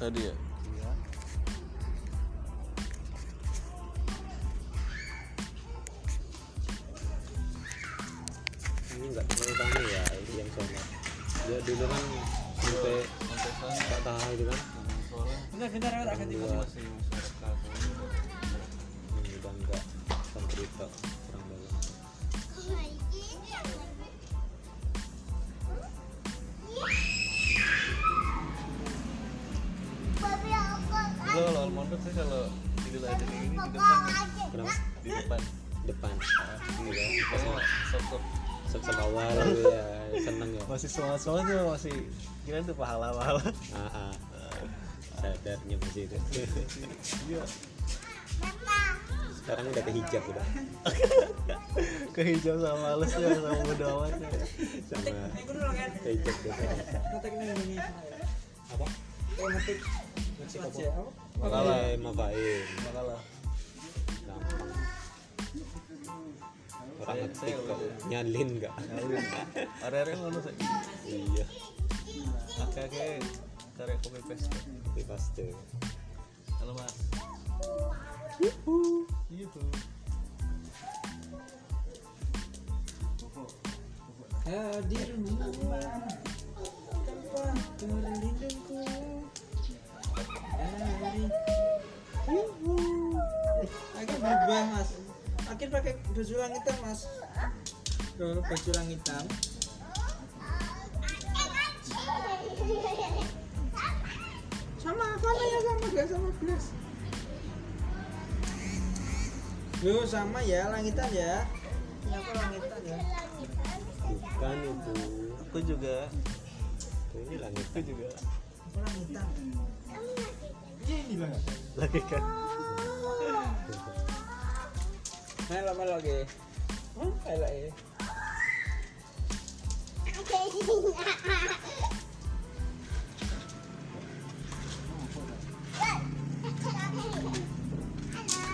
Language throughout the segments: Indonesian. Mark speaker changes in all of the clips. Speaker 1: tadi ya
Speaker 2: Iya.
Speaker 3: ini nggak terlalu rame ya ini yang sama dia dulu kan sampai
Speaker 1: kontesan
Speaker 3: tak tahu itu kan
Speaker 1: suara
Speaker 4: Bentar, bentar, aku tak ganti baju.
Speaker 1: masih suara kaku
Speaker 3: ini udah nggak cerita kurang dalam
Speaker 1: Enggak, kalau Almondo sih kalau dibilang ada kayak gini di depan ya.
Speaker 3: kenapa
Speaker 1: di depan
Speaker 3: depan Iya,
Speaker 1: pokoknya sok-sok
Speaker 3: sep sep awal gitu ya seneng ya
Speaker 2: Masih soal-soalnya masih kira tuh pahala-pahala.
Speaker 3: ah ah. sadarnya masih itu
Speaker 2: Iya.
Speaker 3: sekarang udah ke hijab udah
Speaker 2: Ke hijau sama halus ya sama bodo amat. ya.
Speaker 3: sama
Speaker 4: Ini gue dulu kan.
Speaker 3: ke hijab udah ke hijab.
Speaker 4: Ngetik nih ini.
Speaker 3: apa
Speaker 4: Eh, ngetik. Ngetik apa?
Speaker 3: makalah mabain
Speaker 1: makalah
Speaker 3: Eh, gampang orang
Speaker 1: Saya-
Speaker 3: ngetik
Speaker 1: saya
Speaker 3: kok
Speaker 1: udah.
Speaker 3: nyalin nggak
Speaker 1: nyalin area-area ngono sih
Speaker 3: iya
Speaker 1: akeh-akeh karek copy paste
Speaker 3: tapi pasti
Speaker 1: halo mas
Speaker 2: Gitu.
Speaker 4: Hadirmu tempat berlindungku dari Yuhu. Agak berubah mas Makin pakai baju hitam mas Kalau baju hitam Sama, sama ya sama gak sama belas Lu sama ya langitan ya Kenapa langitan ya
Speaker 3: bukan itu
Speaker 1: aku juga
Speaker 3: itu ini langit
Speaker 1: aku juga
Speaker 4: Aku langitan
Speaker 2: Lagi kan.
Speaker 4: Melo melo ge Hmm, elok ya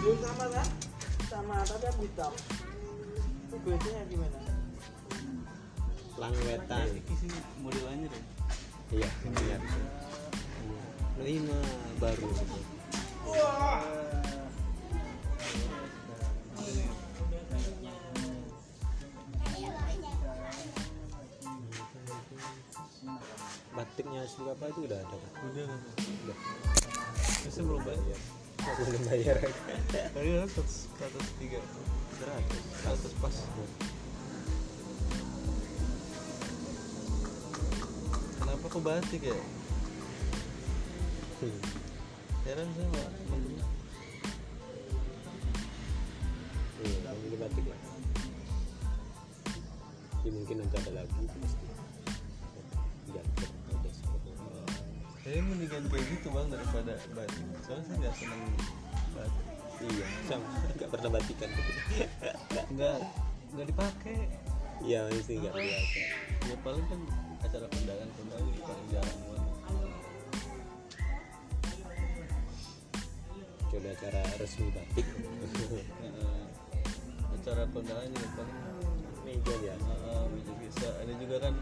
Speaker 4: Belum sama kan? Sama, tapi aku hitam. Itu bedanya gimana?
Speaker 3: langwetan
Speaker 1: Ini sih modelannya deh
Speaker 3: iya iya lima baru batiknya harus berapa itu udah ada kan
Speaker 1: udah kan
Speaker 3: udah
Speaker 1: biasanya belum banyak ya?
Speaker 3: belum bayar
Speaker 1: tadi kan 103 100 100 pas kenapa kok batik ya
Speaker 3: Hmm.
Speaker 1: heran sama temen-temen
Speaker 3: iya kalau beli batik ya Jadi mungkin nanti ada lagi itu pasti Iya, ada sebetulnya.
Speaker 1: saya mendingan kayak gitu bang daripada batik soalnya saya nggak seneng batik
Speaker 3: iya sama nggak pernah batikan
Speaker 1: nggak nggak dipakai
Speaker 3: iya mesti nggak biasa
Speaker 1: ya paling kan acara kondangan kondangan itu paling jarang banget
Speaker 3: coba cara resmi batik
Speaker 1: Heeh. acara kondangan juga paling
Speaker 3: meja ya
Speaker 1: heeh, meja biasa ada juga kan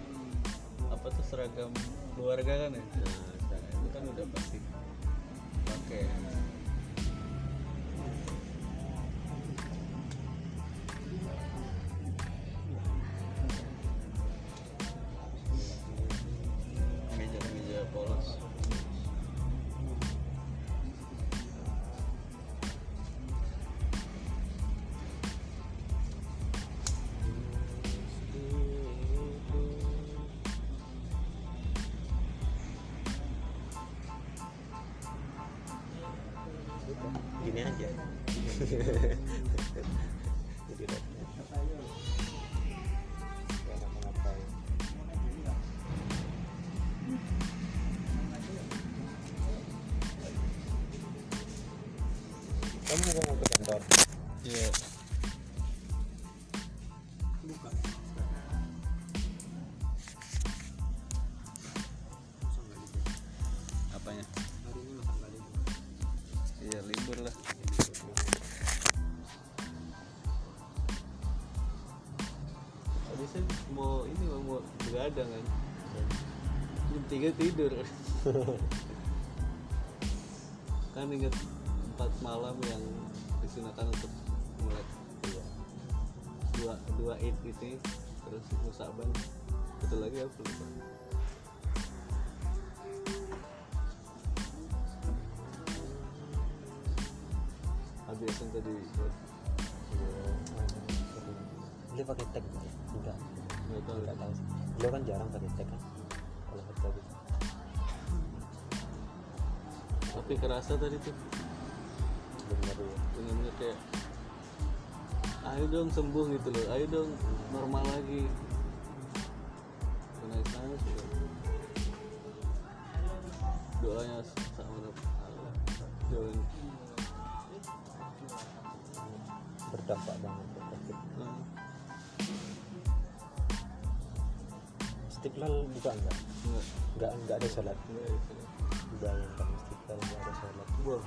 Speaker 1: apa tuh seragam keluarga kan ya
Speaker 3: nah sekarang
Speaker 1: itu kan udah pasti pakai meja-meja polos
Speaker 3: Udah, gini aja jadi udah Gak ngapa-ngapain. kamu mau ngomong ke kantor
Speaker 1: Iya. Apanya? Iya libur lah. Tadi saya mau ini Bang, mau begadang kan. Jam tiga tidur. kan ingat empat malam yang digunakan untuk melek
Speaker 3: Iya.
Speaker 1: dua dua dua eid itu terus musaban betul lagi apa lupa habis yang tadi buat-
Speaker 3: Lu pakai tag enggak?
Speaker 1: nggak tahu
Speaker 3: Enggak tahu sih. Lu kan jarang pakai tag kan. Kalau hashtag itu.
Speaker 1: tapi kerasa tadi tuh
Speaker 3: bener ya.
Speaker 1: benar-benar kayak ayo dong sembuh gitu loh ayo dong normal lagi nangis nangis gitu. doanya sama Allah doain
Speaker 3: Berdampak banget ke covid.
Speaker 1: nah,
Speaker 3: Istiqlal buka enggak?
Speaker 1: enggak
Speaker 3: Enggak, enggak ada sholat.
Speaker 1: enggak ya Fir.
Speaker 3: Bayangkan istiqlal enggak ada sholat.
Speaker 1: Wow.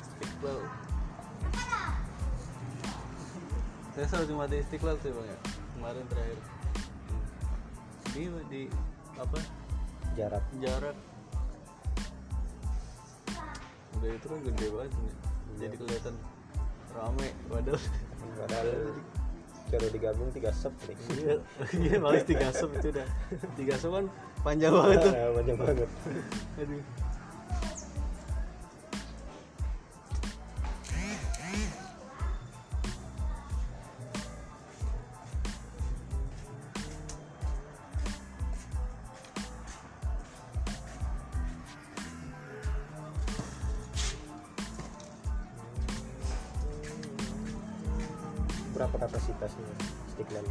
Speaker 1: Istiqlal. Saya selalu cuma di Istiqlal sih bang ya. Kemarin terakhir. Di di apa?
Speaker 3: Jarak
Speaker 1: Jarak. Udah itu kan gede banget ini. Jadi kelihatan rame padahal
Speaker 3: padahal kalau digabung tiga sub nih.
Speaker 1: iya iya malah tiga sub itu udah tiga sub kan panjang banget tuh
Speaker 3: Ah, Banyak banget.
Speaker 1: aduh
Speaker 3: Berapa kapasitasnya istiqlal?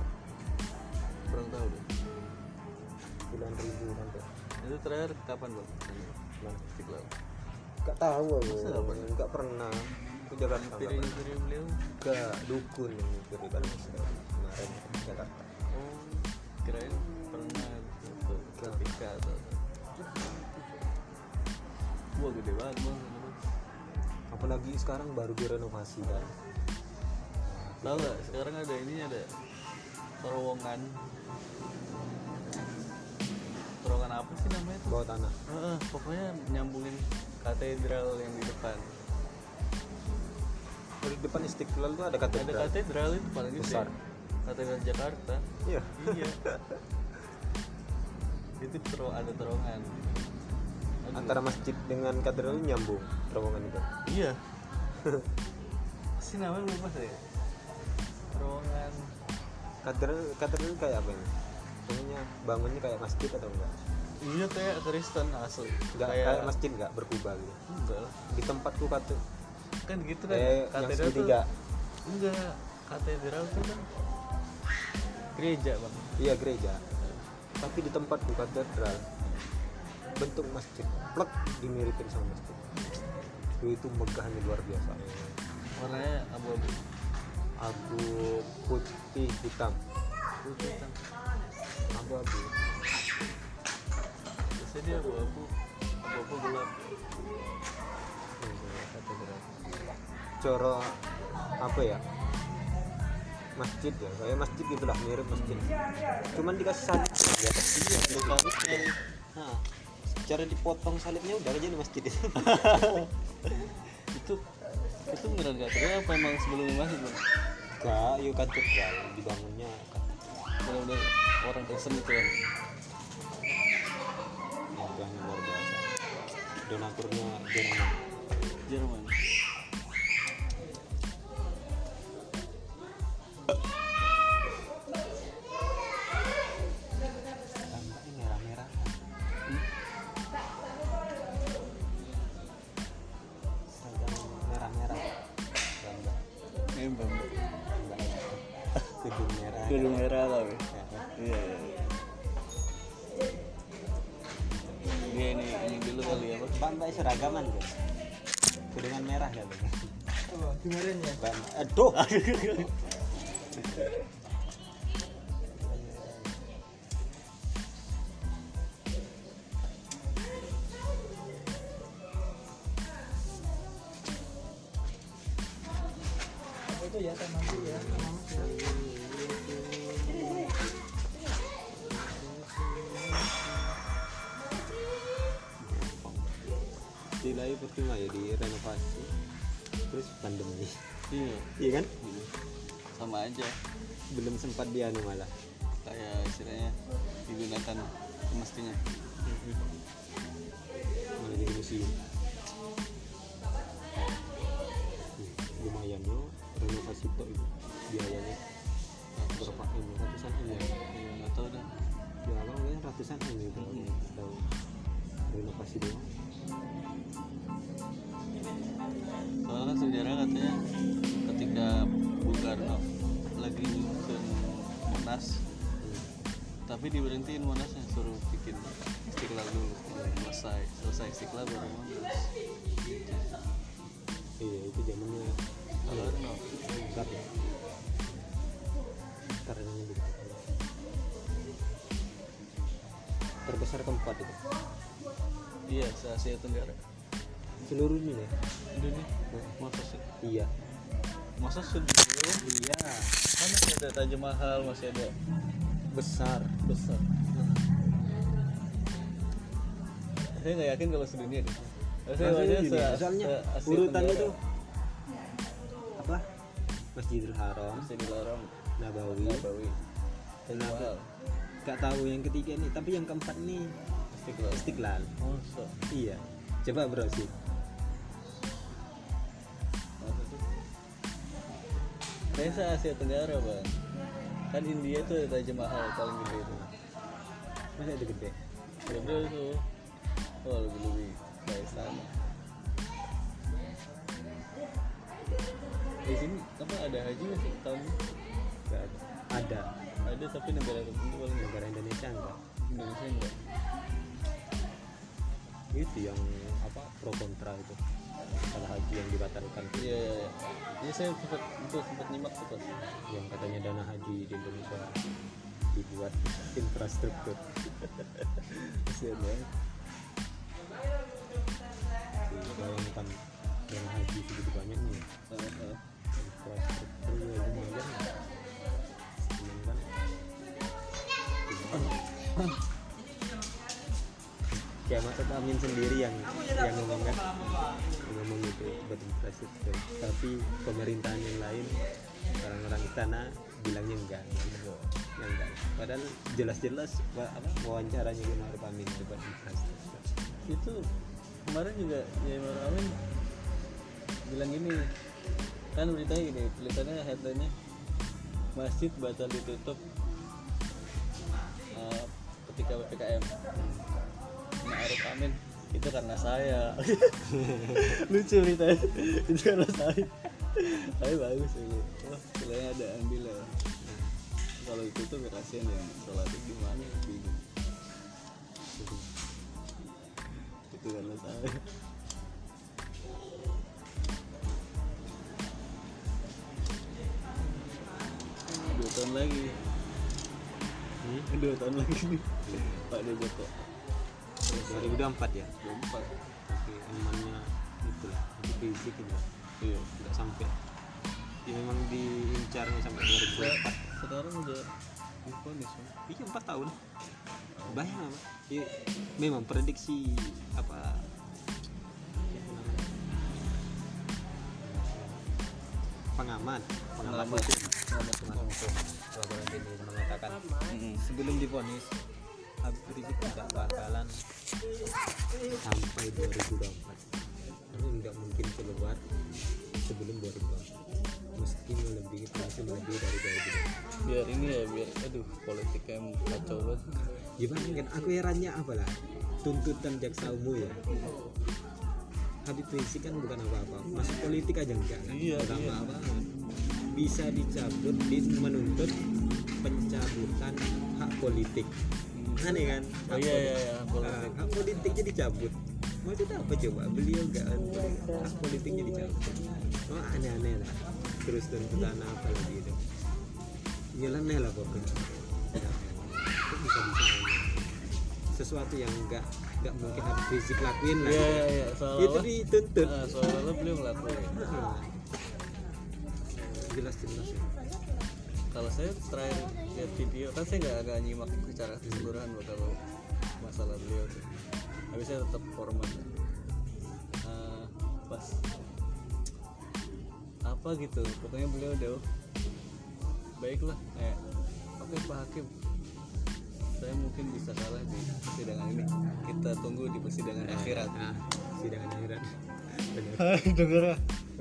Speaker 1: kurang tahu deh
Speaker 3: Puluhan ribu sampai
Speaker 1: itu terakhir kapan bang
Speaker 3: mana?
Speaker 1: Istiqlal
Speaker 3: Gak tahu aku.
Speaker 1: Masa nggak pernah?
Speaker 3: Gak pernah. Ke Jakarta nggak
Speaker 1: piring
Speaker 3: pernah.
Speaker 1: piring beliau
Speaker 3: Ke dukun yang mikir di Bandung sekarang. kemarin ke Jakarta.
Speaker 1: Oh, kirain pernah gitu ketika atau Wah gede banget bang
Speaker 3: Apalagi sekarang baru direnovasi kan.
Speaker 1: Tau gak sekarang ada ini ada terowongan Terowongan apa sih namanya tuh?
Speaker 3: Bawah tanah.
Speaker 1: Heeh, pokoknya nyambungin katedral yang di depan
Speaker 3: Dari depan Istiqlal tuh ada
Speaker 1: Ada
Speaker 3: katedral.
Speaker 1: katedral itu paling gede
Speaker 3: Besar.
Speaker 1: Katedral Jakarta
Speaker 3: Iya.
Speaker 1: Iya Itu tero ada terowongan Aduh.
Speaker 3: Antara masjid dengan katedral tuh nyambung terowongan itu.
Speaker 1: Iya. si namanya lupa saya. Terowongan
Speaker 3: Katedral katedral itu kayak apa ini? Namanya bangunnya kayak masjid atau enggak?
Speaker 1: Iya kayak Kristen asli.
Speaker 3: Enggak kayak, masjid enggak berkubah gitu.
Speaker 1: enggak lah.
Speaker 3: Di tempatku kate
Speaker 1: Kan gitu kan.
Speaker 3: eh, yang segitiga.
Speaker 1: tuh enggak. Katedral tuh kan gereja bang.
Speaker 3: Iya gereja. Tapi di tempatku katedral bentuk masjid plek dimiripin sama masjid. Dulu itu megahnya luar biasa.
Speaker 1: Warnanya abu-abu.
Speaker 3: Abu putih hitam.
Speaker 1: Putih hitam.
Speaker 3: Abu-abu.
Speaker 1: Biasanya dia abu-abu. Abu-abu gelap.
Speaker 3: Katedral. Coro apa ya? Masjid ya, kayak masjid gitulah mirip masjid. Cuman dikasih salib di atas.
Speaker 1: Iya. Lokalisnya.
Speaker 3: Nah, cara dipotong salibnya udah jadi masjid.
Speaker 1: itu itu beneran katedral apa emang sebelumnya masih bang?
Speaker 3: Enggak, yuk katedral dibangunnya kan
Speaker 1: Bener-bener orang Kristen itu ya.
Speaker 3: megahnya luar biasa. Donaturnya Jerman.
Speaker 1: Jerman.
Speaker 3: Tampaknya merah-merah. Seragam merah-merah. Gambar.
Speaker 1: Ini bang.
Speaker 3: Gambar. Gedung merah.
Speaker 1: Gedung merah tapi.
Speaker 3: Ya.
Speaker 1: Iya. iya. Dia Iya, ini ini dulu kali ya, Bang.
Speaker 3: Pantai seragaman guys. Gedungan merah ya.
Speaker 4: Apa? Dimarahin ya?
Speaker 3: Ban. Aduh.
Speaker 4: Apa itu ya tamanku ya? Tamanku ya.
Speaker 1: Gila tapi percuma ya direnovasi
Speaker 3: terus pandemi
Speaker 1: iya
Speaker 3: iya kan
Speaker 1: gitu. sama aja
Speaker 3: belum sempat dianu malah
Speaker 1: kayak istilahnya digunakan semestinya
Speaker 3: malah jadi museum Hmm, lumayan yo renovasi kok itu biayanya berapa m ratusan m ya
Speaker 1: Iya, nggak tahu dah
Speaker 3: ya kalau kayaknya ratusan m gitu
Speaker 1: Mhm.
Speaker 3: tahu renovasi doang
Speaker 1: soalnya kan sejarah katanya ketika Bung Karno lagi nyusun Monas
Speaker 3: Hmm,
Speaker 1: tapi diberhentiin Monasnya suruh bikin istiqlal dulu selesai selesai istiqlal baru Monas
Speaker 3: iya itu zamannya Iya,
Speaker 1: kalau no
Speaker 3: Bentar ya. Bentar ya, ini dulu. Terbesar keempat itu.
Speaker 1: iya se Asia Tenggara
Speaker 3: Seluruh dunia.
Speaker 1: Indonesia masa sih
Speaker 3: ya? Iya.
Speaker 1: masa ya. sudah dulu
Speaker 3: Iya.
Speaker 1: kan masih ada Taj Mahal masih ada
Speaker 3: Besar.
Speaker 1: besar saya nggak yakin kalau sedunia deh Saya
Speaker 3: Langsung
Speaker 1: maunya
Speaker 3: dunia.
Speaker 1: se-
Speaker 3: Soalnya
Speaker 1: se- Asia
Speaker 3: urutannya
Speaker 1: Tenggara.
Speaker 3: tuh apa? Masjidil Haram,
Speaker 1: masih dilarang
Speaker 3: Nabawi,
Speaker 1: Nabawi
Speaker 3: dan apa?
Speaker 1: Mahal
Speaker 3: Gak tahu yang ketiga nih, tapi yang keempat nih
Speaker 1: Istiqlal
Speaker 3: Istiqlal.
Speaker 1: masa
Speaker 3: Iya. Coba browsing.
Speaker 1: Masa sih? Kayaknya se Asia Tenggara bang kan India tuh ada Taj Mahal paling gede itu
Speaker 3: Masa ada gede?
Speaker 1: gede tuh oh lebih lebih dari sana di sini apa ada haji nggak sih tahun ini?
Speaker 3: Gak ada. Ada.
Speaker 1: ada tapi negara tertentu paling nggak.
Speaker 3: Negara Indonesia enggak?
Speaker 1: Indonesia enggak
Speaker 3: itu yang apa pro kontra itu masalah haji yang dibatalkan
Speaker 1: iya iya iya jadi saya sempat itu sempat nyimak tuh pas
Speaker 3: yang katanya dana haji di Indonesia dibuat infrastruktur ya.
Speaker 1: kasihan banget
Speaker 3: bayangkan dana haji segitu banyaknya
Speaker 1: Heeh, heeh.
Speaker 3: infrastruktur ya lumayan Cuman kan kiamat tetap amin sendiri yang yang ngomong kan ngomong itu buat infrastruktur tapi pemerintahan yang lain orang-orang istana bilangnya enggak yang enggak padahal jelas-jelas wa- apa, wawancaranya Kiai Ma'ruf Amin itu buat infrastruktur
Speaker 1: itu kemarin juga Yai Maruf Amin bilang gini kan beritanya gini tulisannya headline-nya masjid batal ditutup eh, ketika ppkm Ma'ruf Nah, Amin itu karena saya lucu beritanya itu karena saya tapi bagus ini wah sebenarnya ada ambil ya kalau ditutup ya kasihan ya sholat itu gimana bingung itu karena saya dua tahun lagi
Speaker 3: Hmm?
Speaker 1: dua tahun lagi nih Pak Joko
Speaker 3: 2004 ya
Speaker 1: dua empat
Speaker 3: tapi emangnya itulah itu basic itu
Speaker 1: iya
Speaker 3: nggak sampai ya memang diincarnya sampai 2004
Speaker 1: Se- sekarang udah difonis ya
Speaker 3: Iya empat tahun. Bayang apa? Iya, memang prediksi apa? Pengamat, pengamat
Speaker 1: Pengamat.
Speaker 3: hukum.
Speaker 1: Pengamat hukum.
Speaker 3: Pengamat hukum mengatakan sebelum diponis Habib Rizik tidak bakalan sampai 2024 karena nggak mungkin keluar sebelum 2024 meski melebihi pasti melebihi dari 2024
Speaker 1: biar ini ya biar aduh politiknya kacau banget
Speaker 3: gimana kan
Speaker 1: Iya.
Speaker 3: aku herannya apalah tuntutan jaksa umum ya Habib Rizik kan bukan apa-apa masuk politik aja enggak kan
Speaker 1: Iya,
Speaker 3: Bukan
Speaker 1: iya.
Speaker 3: apa-apa bisa dicabut di- menuntut pencabutan hak politik aneh kan Hak
Speaker 1: oh iya
Speaker 3: politik.
Speaker 1: iya iya politik
Speaker 3: Nah, hak politiknya dicabut maksudnya apa coba beliau enggak kan politik. hak politiknya dicabut oh aneh-aneh lah terus tuntutan apa lagi itu nyeleneh lah pokoknya Nah, Kok bisa-bisanya? sesuatu yang enggak enggak mungkin Habib Rizik lakuin lah
Speaker 1: iya iya iya
Speaker 3: itu
Speaker 1: seolah-olah
Speaker 3: dituntut Nah,
Speaker 1: nah, seolah-olah beliau ngelakuin
Speaker 3: jelas jelas ya.
Speaker 1: kalau saya terakhir lihat video kan saya nggak agak nyimak secara keseluruhan loh kalau masalah beliau tuh tapi saya tetap format Eh, pas apa gitu pokoknya beliau udah baiklah kayak oke Pak Hakim saya mungkin bisa kalah di persidangan ini kita tunggu di persidangan akhirat
Speaker 3: Nah, sidang akhirat. Bener.
Speaker 1: Hai dengar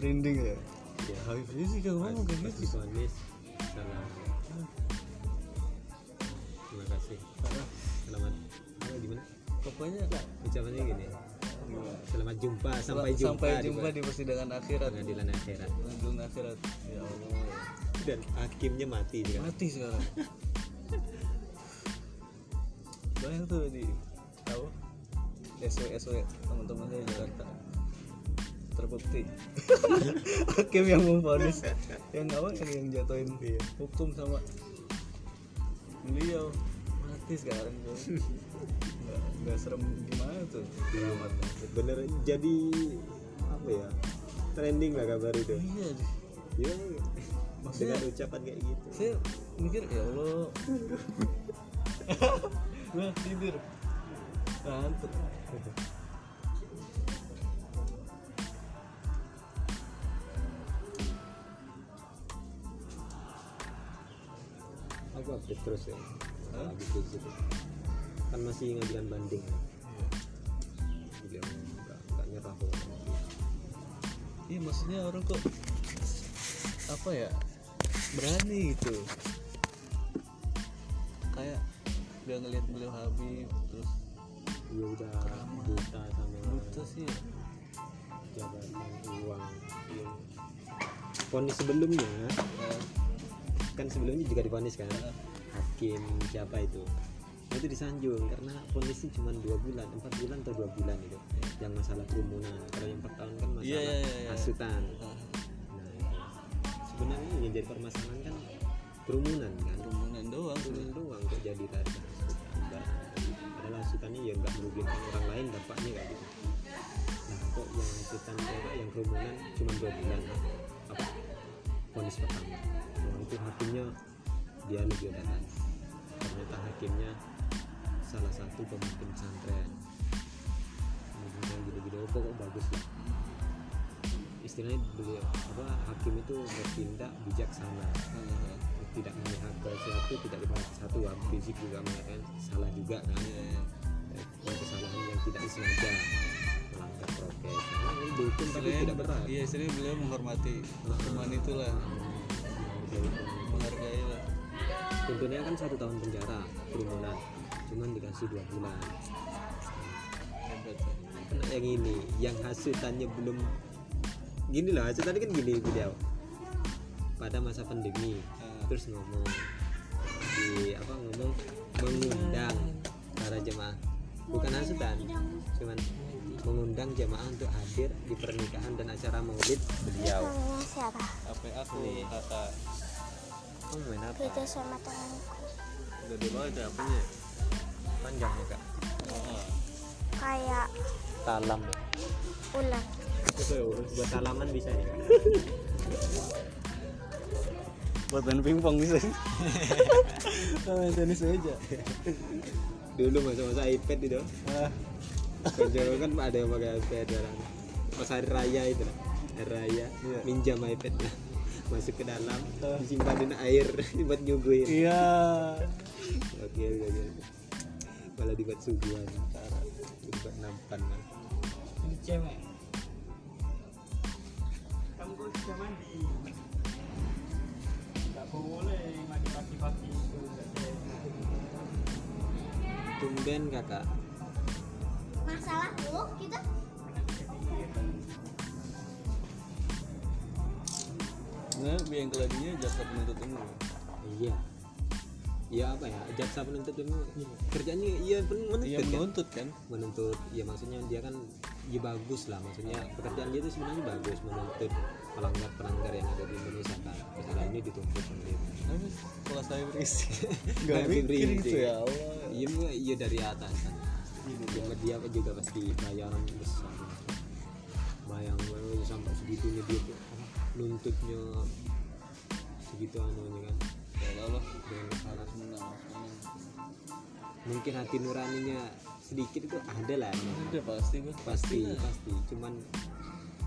Speaker 1: rinding ya ya Habib sih kan
Speaker 3: Pas,
Speaker 1: ngomong kayak
Speaker 3: pas
Speaker 1: gitu
Speaker 3: difonis, salam. Terima kasih. Selamat. Apa gimana?
Speaker 1: pokoknya
Speaker 3: Ucapannya gini. Selamat jumpa sampai
Speaker 1: sampai
Speaker 3: jumpa,
Speaker 1: jumpa di persidangan akhirat
Speaker 3: pengadilan akhirat.
Speaker 1: pengadilan akhirat ya Allah
Speaker 3: Dan hakimnya mati juga.
Speaker 1: mati sekarang banyak tuh di tahu SW SW teman-teman saya di Jakarta terbukti hakim yang memfonis yang apa yang, yang jatuhin hukum sama beliau mati sekarang tuh nggak, nggak serem gimana tuh Selamat.
Speaker 3: Bener jadi apa ya? Trending lah kabar itu.
Speaker 1: iya di-
Speaker 3: Yo,
Speaker 1: maksudnya
Speaker 3: dengan ucapan kayak gitu.
Speaker 1: saya mikir ya Allah nah tidur ngantuk
Speaker 3: Aku update terus ya.
Speaker 1: Hah?
Speaker 3: Habis dari situ. Kan masih ngajukan banding. Beliau nggak nggak nyerah kok.
Speaker 1: iya maksudnya orang kok apa ya berani gitu kayak udah ngeliat beliau Habib terus
Speaker 3: Dia Iya, udah buta sama
Speaker 1: buta sih ya.
Speaker 3: jabatan uang. Ponis sebelumnya
Speaker 1: Nah,
Speaker 3: kan sebelumnya juga diponis kan
Speaker 1: Heeh.
Speaker 3: hakim siapa itu Nah, itu disanjung karena ponisnya cuma dua bulan empat bulan atau dua bulan itu yang masalah kerumunan kalau yang empat tahun kan masalah
Speaker 1: Iya, iya, iya, iya.
Speaker 3: hasutan
Speaker 1: nah,
Speaker 3: nah itu. sebenarnya yang jadi permasalahan kan kerumunan kan
Speaker 1: kerumunan doang
Speaker 3: kerumunan doang kok jadi tarik hasutan Padahal- padahal hasutannya ya nggak merugikan orang lain dampaknya kayak gitu nah kok yang hasutan apa yang kerumunan cuma dua bulan apa ponis pertama Wah, itu hakimnya dia lebih datang ternyata hakimnya salah satu pemimpin pesantren pemimpin gede-gede apa kok bagus lah istilahnya beliau apa hakim itu bertindak bijaksana
Speaker 1: Nah,
Speaker 3: tidak melihat ke satu tidak dipandang ke satu Wah, fisik juga mengatakan salah juga kan
Speaker 1: iya, iya.
Speaker 3: Eh, yang kesalahan yang tidak disengaja melanggar prokes karena ini dihukum tapi
Speaker 1: Istilahnya-
Speaker 3: tidak berat
Speaker 1: iya istilahnya beliau menghormati teman itulah menghargai lah
Speaker 3: tentunya kan satu tahun penjara kerumunan cuman dikasih dua bulan
Speaker 1: hebat ya.
Speaker 3: Kena yang ini yang hasutannya belum gini loh hasutannya kan gini beliau pada masa pandemi
Speaker 1: Ah.
Speaker 3: terus ngomong di apa ngomong mengundang para jemaah bukan hasutan cuman mengundang jemaah untuk hadir di pernikahan dan acara maulid beliau
Speaker 5: Tangannya siapa?
Speaker 1: apa aku kakak
Speaker 3: kamu main apa
Speaker 5: Beda sama tanganku.
Speaker 1: gede banget ya punya ya,
Speaker 3: panjangnya kak
Speaker 5: Kayak
Speaker 3: talam ya
Speaker 5: ular.
Speaker 3: buat talaman bisa nih kak
Speaker 1: buat main pingpong bisa main tenis meja
Speaker 3: dulu masa-masa iPad itu
Speaker 1: Ah,
Speaker 3: kerja kan ada yang pakai iPad dalam pas hari raya itu lah hari raya
Speaker 1: Iya.
Speaker 3: minjam iPad lah masuk ke dalam disimpan air buat nyuguhin
Speaker 1: iya
Speaker 3: oke oke oke malah dibuat suguhan dibuat nampan lah
Speaker 4: Ini cewek.
Speaker 3: tumben kakak
Speaker 5: Masalah lu gitu?
Speaker 1: nah biang keladinya jaksa penuntut umum
Speaker 3: iya iya apa ya jaksa penuntut umum kerjanya iya pen- menuntut
Speaker 1: iya
Speaker 3: kan?
Speaker 1: menuntut kan
Speaker 3: menuntut ya maksudnya dia kan ya bagus lah maksudnya pekerjaan dia itu sebenarnya bagus menuntut pelanggar pelanggar yang ada di Indonesia kan misalnya ini dituntut oleh
Speaker 1: tapi kalau saya berisi
Speaker 3: Nggak
Speaker 1: nggak mikir
Speaker 3: berisi.
Speaker 1: gitu ya Allah Iya,
Speaker 3: iya mu- iya dari atas kan Cuma dia juga pasti bayaran besar bayang bayang sampai segitunya dia tuh apa, nuntutnya segitu anunya kan
Speaker 1: ya Allah
Speaker 3: dengan
Speaker 1: harus
Speaker 3: besaran.
Speaker 1: menang harus menang
Speaker 3: mungkin hati nuraninya sedikit itu ada lah
Speaker 1: udah pasti gua
Speaker 3: pasti pasti cuman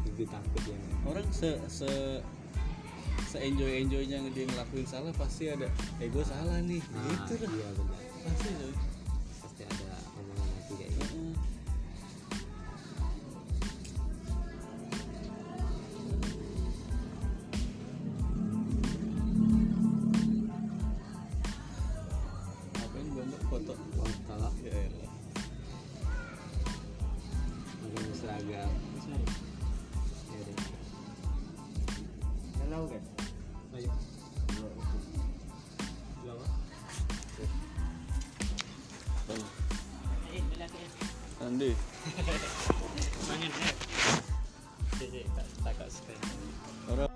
Speaker 3: lebih takut yang
Speaker 1: orang se se se enjoy enjoynya dia ngelakuin salah pasti ada eh gue salah nih
Speaker 3: nah,
Speaker 1: gitu
Speaker 3: iya benar
Speaker 1: pasti coy.
Speaker 3: pasti ada omongan lagi kayak gitu
Speaker 1: Heeh. ngapain gue mbak foto
Speaker 3: wah kalau
Speaker 1: ya elah
Speaker 3: mungkin seragam ya udah
Speaker 1: kan?
Speaker 3: ayo
Speaker 1: Iya. Iya, Andi orang